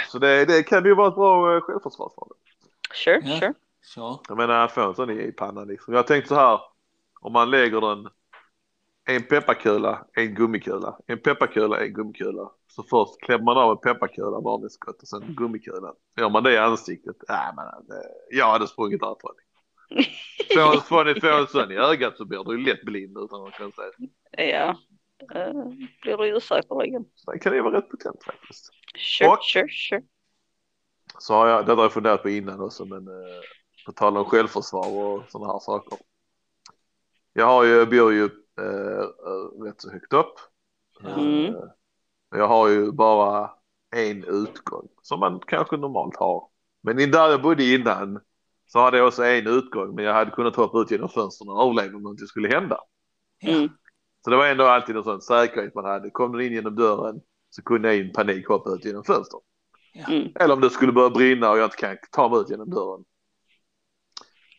C: Så det, det kan ju vara ett bra eh, självförsvarsvapen.
B: Mm, Sure,
A: Ja.
B: sure.
A: Så.
C: Jag menar få en sån i, i pannan liksom. Jag tänkte så här. Om man lägger den. En pepparkula, en gummikula. En pepparkula, en gummikula. Så först klämmer man av en pepparkula, varningsskott och sen gummikulan. Gör man det i ansiktet. Nej men det, jag hade sprungit därifrån. Får en sån- får en sån i ögat så blir du ju lätt blind utan att kunna säga.
B: Ja. Eh, blir du ju säkerligen.
C: Så den kan ju vara rätt potent faktiskt.
B: Sure,
C: Och-
B: sure, sure.
C: Så har jag, detta har jag funderat på innan också men eh, på tal om självförsvar och sådana här saker. Jag har ju, bor ju eh, eh, rätt så högt upp.
B: Mm.
C: Eh, jag har ju bara en utgång som man kanske normalt har. Men i där jag bodde innan så hade jag också en utgång men jag hade kunnat hoppa ut genom fönstren och överleva om någonting skulle hända.
B: Mm.
C: Så det var ändå alltid en sån säkerhet man hade. Kom den in genom dörren så kunde jag i en panik hoppa ut genom fönstret.
A: Ja.
B: Mm.
C: Eller om det skulle börja brinna och jag inte kan ta mig ut genom dörren.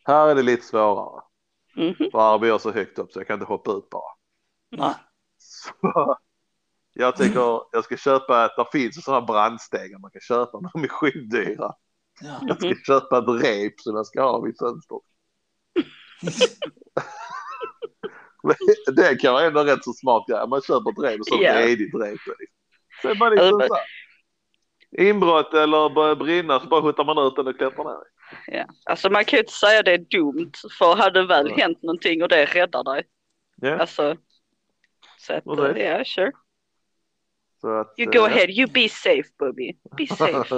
C: Här är det lite svårare.
B: Mhm.
C: För här bor jag så högt upp så jag kan inte hoppa ut bara.
A: Nej.
C: Så jag tänker jag ska köpa, att det finns sådana brandstegar man kan köpa men de är skitdyra.
A: Ja.
C: Jag
B: Mhm.
C: ska köpa ett rep som jag ska ha vid fönstret. Men det kan vara ändå rätt så smart grej. Man köper ett rep och så
B: Ja.
C: redigt rep. Liksom. Så är man liksom
B: Eller-
C: så här. Inbrott eller börjar brinna så bara skjuter man ut den och klättrar ner.
B: Ja. Alltså man kan ju inte säga det är dumt. För hade det väl
C: Ja.
B: hänt någonting och det räddar dig.
C: Ja.
B: Alltså. Så att,
C: Och det-
B: eh, ja, sure.
C: Så att,
B: You go
C: eh,
B: ahead, you be safe Bobby. Be safe.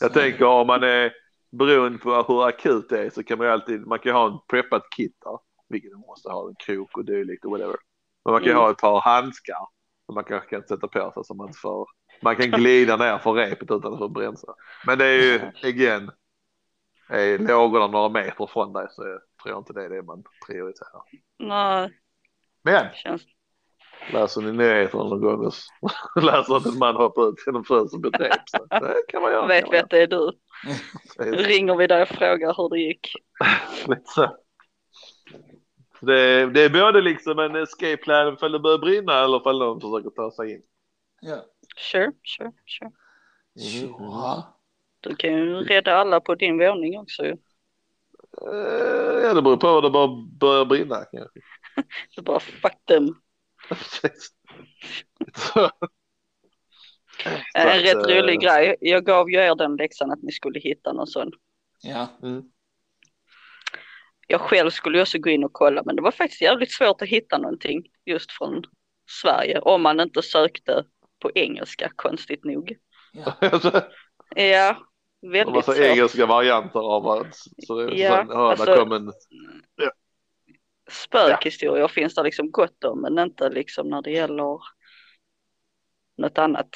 C: Jag
B: Mm.
C: tänker om man är beroende på hur akut det är så kan man ju alltid, man kan ju ha en preppad kit där, vilket man måste ha, en krok och dylikt och whatever. Men man kan ju
B: Mm.
C: ha ett par handskar som man kanske kan sätta på sig så man inte får, man kan glida ner för repet utan att få bränsa. Men det är ju, igen, är lågorna några meter från dig så tror jag inte det är det man prioriterar.
B: Nej,
C: Men
B: känns...
C: läser ni nyheterna någon gång och läser att en man hoppar ut genom fönstret med ett rep så det kan man göra.
B: vet vi att det är du.
C: Det är-
B: Ringer vi dig och frågar hur det gick.
C: Lite så. Liksom. Så Det, det är både liksom en escape plan ifall det börjar brinna eller ifall de försöker ta sig in.
A: Ja.
B: Sure, sure, sure.
A: Tjoa.
B: Du kan ju rädda alla på din våning också ju.
C: Eh, Ja, det beror på vad det bara börjar brinna kanske.
B: Du bara fuck them.
C: Precis. Så-
B: Äh, En
C: att,
B: rätt
C: eh,
B: rolig grej. Jag gav ju er den läxan att ni skulle hitta någon sån.
A: Ja.
C: Mm.
B: Jag själv skulle ju också gå in och kolla men det var faktiskt jävligt svårt att hitta någonting just från Sverige om man inte sökte på engelska konstigt nog.
C: eh,
B: Ja,
C: Det var
B: väldigt
C: så
B: svårt.
C: engelska varianter av att så det
B: Ja,
C: ja,
B: alltså-
C: där kom en...
B: Spökhistorier finns det liksom gott om men inte liksom när det gäller något annat.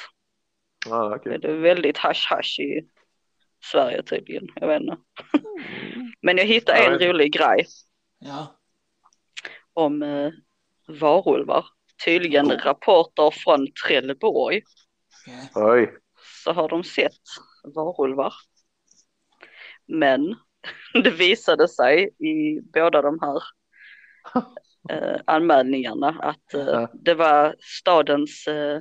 C: Ja,
B: Det är
C: okej.
B: det väldigt hasch hasch i Sverige tydligen. Jag vet inte. Men jag hittade
C: Ja,
B: en
C: det-
B: rolig grej
A: Ja.
B: om eh, varulvar. Tydligen rapporter från Trelleborg
A: Okej.
C: Oj.
B: så har de sett varulvar. Men det visade sig i båda de här eh, anmälningarna att eh,
C: Ja.
B: det var stadens eh,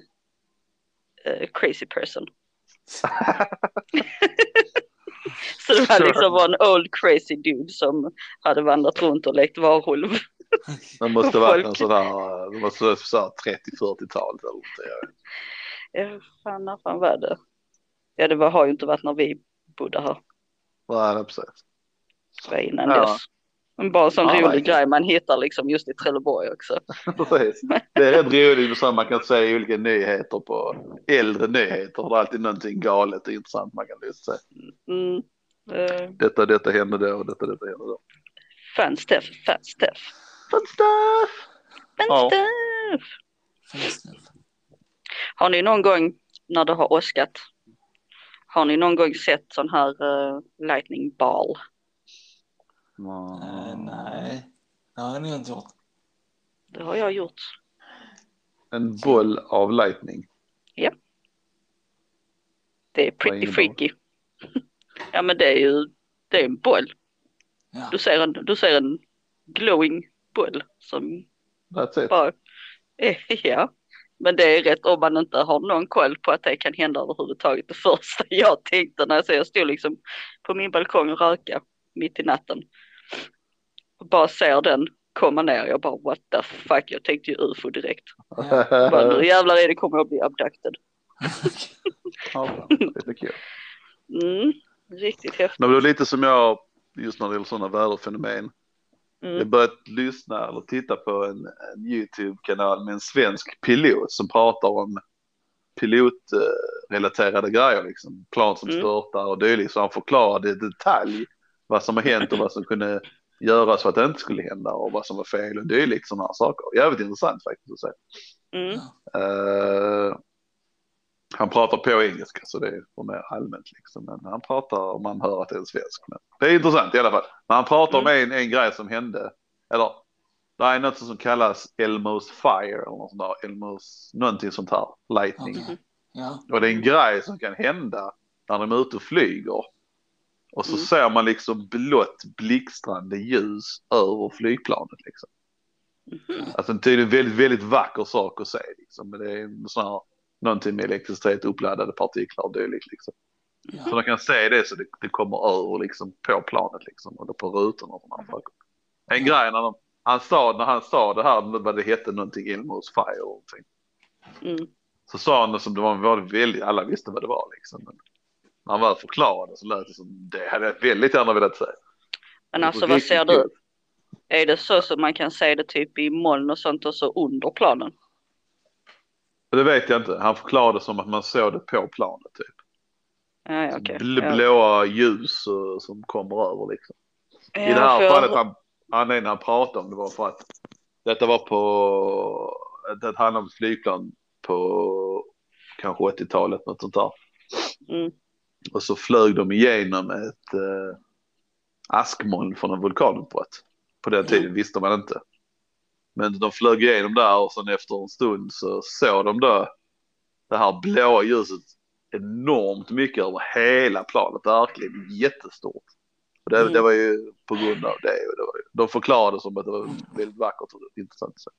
B: eh, crazy person. Så det var
C: Sure.
B: liksom var en old crazy dude som hade vandrat runt och lekt varulv.
C: Det måste varit en
B: Folk-
C: sån här, det måste vara så här 30-40-talet eller något. jag vet.
B: Ja, fan, när fan var det? Ja, det var, har ju inte varit när vi bodde här.
C: Nej, det är precis.
B: Det var innan
C: Ja.
B: dess. Men bara en sån
C: Ja,
B: rolig
C: verkligen.
B: grej man hittar liksom just i Trelleborg också.
C: Precis. Det är rätt roligt med sånt man kan se i olika nyheter på äldre nyheter. Det är alltid någonting galet och intressant man kan lyssna se.
B: Mm. Uh,
C: Detta, detta hände då och detta, detta hände då.
B: fan Steff, fan Steff,
C: Fun stuff!
B: fan
C: Ja.
B: Steff.
A: Finns det.
B: Har ni någon gång när det har åskat, har ni någon gång sett sån här eh, lightning ball?
A: Eh, Nej. Det har jag nog inte gjort.
B: Det har jag gjort.
C: En boll av lightning.
B: Det är pretty
C: innebär?
B: freaky. ja men det är ju, det är en boll.
A: Ja.
B: Du ser en, du ser en glowing boll som
C: That's it.
B: bara, eh, ja. Men det är rätt om man inte har någon koll på att det kan hända överhuvudtaget. Det första jag tänkte när jag, så jag stod liksom på min balkong och röka mitt i natten. Och bara ser den komma ner. Jag bara what the fuck. Jag tänkte ju ufo direkt. Jag bara, nu jävlar är det kommer jag bli abducted.
C: Ja, lite kul.
B: Mm, riktigt häftigt.
C: Men det var lite som jag, just när det gäller sådana väderfenomen.
B: Mm.
C: Jag började lyssna eller titta på en, en YouTube-kanal med en svensk pilot som pratar om pilotrelaterade grejer, liksom plan som
B: Mm.
C: störtar och dylikt. Så han förklarade i detalj vad som har hänt och vad som kunde göras för att det inte skulle hända och vad som var fel och dylikt sådana här saker. Jävligt intressant faktiskt att se.
B: Mm.
C: Eh, han pratar på engelska så det är mer allmänt liksom. Men han pratar och man hör att det är en svensk. Men det är intressant i alla fall. Men han pratar om en, en grej som hände. Eller det är något som kallas Elmos Fire eller något sånt där. Elmos någonting sånt här. Lightning.
A: Okej. Ja.
C: Och det är en grej som kan hända när de är ute och flyger. Och så
B: Mm.
C: ser man liksom blått blixtrande ljus över flygplanet. Liksom. Alltså en tydligen väldigt, väldigt vacker sak att se. Liksom. Men det är en sån här, någonting med elektricitet, uppladdade partiklar och dylikt. Liksom.
A: Ja.
C: Så man kan se det så det, det kommer över liksom, på planet liksom, och då på rutorna. Och såna här saker. En grej när de, han sa, när han sa det här, vad det hette någonting, Ilmos Fire eller någonting.
B: Mm.
C: Så sa han det som det var, var väldigt, alla visste vad det var liksom. Men när han väl förklarade så lät det som, det hade jag väldigt gärna velat säga.
B: Men
C: Det
B: alltså
C: var
B: vad
C: riktigt
B: ser du?
C: kul.
B: Är det så som man kan se det typ i moln och sånt och så under planen?
C: Det vet jag inte, han förklarade som att man såg det på planet typ.
B: Ja, ja, okej.
C: Bl-
B: Ja.
C: Blåa ljus eh, som kommer över liksom.
B: Ja,
C: I det
B: för
C: här
B: jag-
C: fallet, han, anledningen han pratade om det var för att detta var på, det handlade om flygplan på kanske 80-talet, något sånt där.
B: Mm.
C: Och så flög de igenom ett eh, askmoln från en vulkanutbrott. På den tiden visste man inte. Men de flög igenom där och sen efter en stund så såg de då det här blåa ljuset enormt mycket över hela planet, verkligen jättestort. Och det,
B: Mm.
C: det var ju på grund av det. Och det var, ju- de förklarade som att det var väldigt vackert och intressant. Så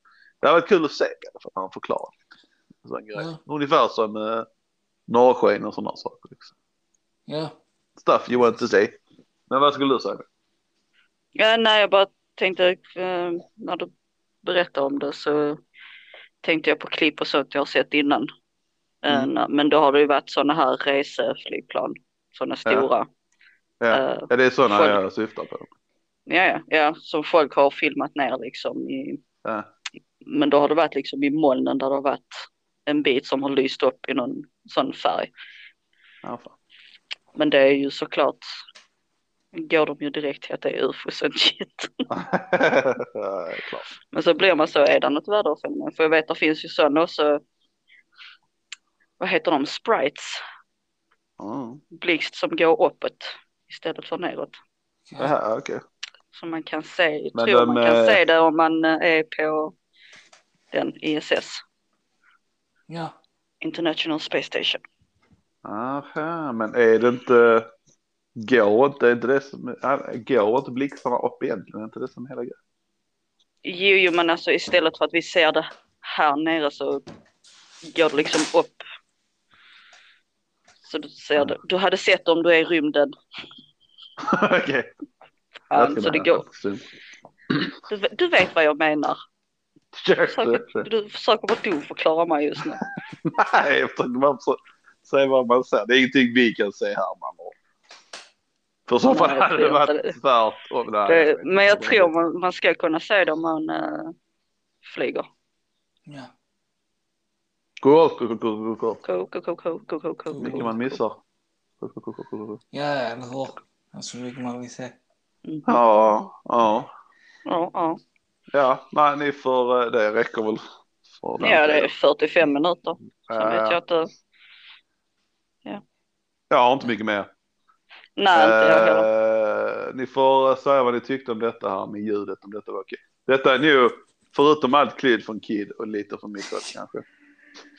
C: det hade varit kul att se i alla fall, när han förklarade. En sån grej. Ungefär som eh, norrsken och sådana saker. Liksom.
A: Ja.
C: Stuff you want to say. Men vad skulle du säga?
B: Ja, nej, jag bara tänkte eh, när du berättade om det så tänkte jag på klipp och sånt jag har sett innan. Eh,
C: Mm.
B: na- Men då har det ju varit sådana här reseflygplan, sådana stora.
C: Ja.
B: Eh,
C: Ja, det är sådana
B: Folk-
C: jag syftar på.
B: ja, ja, ja, som folk har filmat ner liksom. I,
C: Ja.
B: Men då har det varit liksom i molnen där det har varit en bit som har lyst upp i någon sån färg.
C: Ja, fan.
B: Men det är ju såklart, går de ju direkt till att det är ufos and shit.
C: Ja, det är klart.
B: Men så blir man så, är det något väderfenomen? För jag vet, det finns ju sådana också, vad heter de, sprites,
C: Mm.
B: blixt som går uppåt istället för neråt.
A: Ja.
C: Ja, okej.
B: Så man kan se,
C: Men
B: tror
C: de,
B: man kan
C: eh,
B: se det om man eh, är på den ISS,
A: Ja.
B: International Space Station.
C: Aha, men är det inte... Går inte, är inte det som... ja, Går inte blixtarna upp egentligen? Är inte det som hela grejen?
B: Jo, jo, men alltså istället för att vi ser det här nere så går det liksom upp. Så du ser det. Du hade sett om du är i rymden.
C: Okej.
B: Um, så det går.
C: Sure,
B: Du, du vet vad jag menar.
C: sure,
B: Försöker,
C: sure.
B: du försöker bara du förklara mig just nu.
C: Nej, efter att man så, säger vad man säger. Det är ingenting vi kan säga här, man. För så fall
B: Nej, jag
C: hade
B: tror
C: det
B: inte
C: varit
B: det.
C: tvärt om. Nej,
B: Det,
C: vet
B: men jag
C: inte.
B: tror man, man ska kunna säga det om man eh, flyger.
A: Ja.
C: Gå upp, gå upp, gå upp, gå upp, gå upp.
B: Ko, ko, ko, ko, ko, ko, ko,
C: Hur mycket man missar. Gå upp, gå upp, gå upp, gå upp.
A: Ja, eller hur? Alltså, det kan man väl säga.
B: Mm. Ja,
C: Ja, ja.
B: ja.
C: Ja, nej, ni får, eh, det räcker väl. För den
B: ja, det är
C: tiden.
B: 45 minuter. Sen
C: Eh,
B: vet jag inte.
C: Jag har inte mycket mer.
B: Nej, inte jag heller.
C: Eh, ni får säga vad ni tyckte om detta här med ljudet, om detta var okej. Detta är nu, förutom allt klyd från Kid och lite från mitt håll kanske.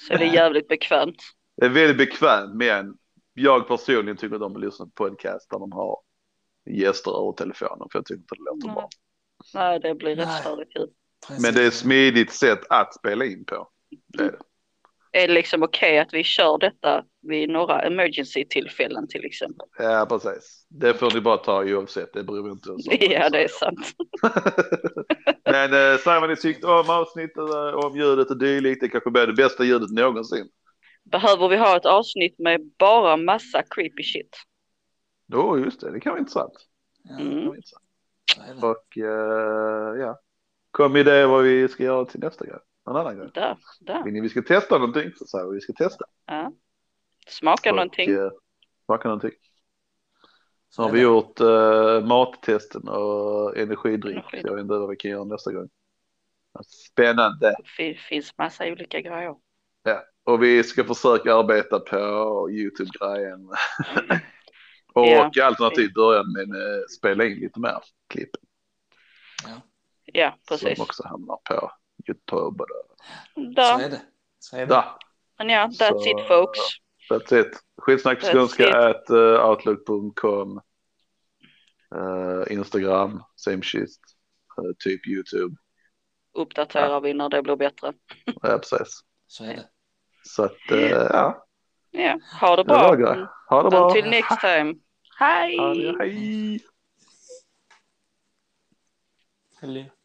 B: Så det är jävligt bekvämt.
C: Det är väldigt bekvämt, men jag personligen tycker att de att lyssna på podcast där de har gäster över telefonen för jag tycker inte det låter
B: Nej.
C: bra.
B: Nej, det blir rätt
A: Nej.
B: störigt ljud.
A: Mm.
C: Men det är ett smidigt sätt att spela in på. Det är det.
B: Är det liksom okej att vi kör detta vid några emergency-tillfällen till exempel?
C: Ja, precis. Det får ni bara ta oavsett, det bryr vi inte oss om.
B: Ja, det är sant.
C: Men eh, säg vad ni tyckte om avsnittet, eh, om ljudet och dylikt. Det kanske blir det bästa ljudet någonsin.
B: Behöver vi ha ett avsnitt med bara massa creepy shit?
C: Jo, just det. Det kan vara intressant. Det kan
B: Mm.
C: vara intressant. Och eh, ja, kom med idéer vad vi ska göra till nästa grej. En annan grej.
B: Där, där.
C: Vill ni vi ska testa någonting så säger vi vi ska testa.
B: Ja. Smaka någonting.
C: Och, eh, smaka någonting. Så har vi gjort eh, mattesten och energidrink.
B: Energi.
C: Jag vet inte vad vi kan göra nästa gång. Spännande.
B: Det finns massa olika grejer.
C: Och vi ska försöka arbeta på YouTube-grejen. och
B: Ja.
C: alternativt börja med eh, spela in lite mer klipp.
B: Ja, precis.
C: Som också hamnar på YouTube. Då.
A: Så
B: Där.
A: är det. Så är det.
C: Där,
B: Men ja, that's
C: Så-
B: it folks.
C: that's it. Skitsnack på
B: That's
C: skånska
B: it.
C: at eh, outlook.com. Eh, Instagram, same shit. Eh, typ YouTube.
B: Uppdaterar vi när det blir bättre.
C: Ja, precis.
A: Så är det.
C: Så att, eh, ja.
B: Ja, ha det
C: Det var
B: Mm. bra.
C: grej. Ha det bra.
B: Until next time.
C: Ha det,
B: Hej!
C: Hej.
A: Hello.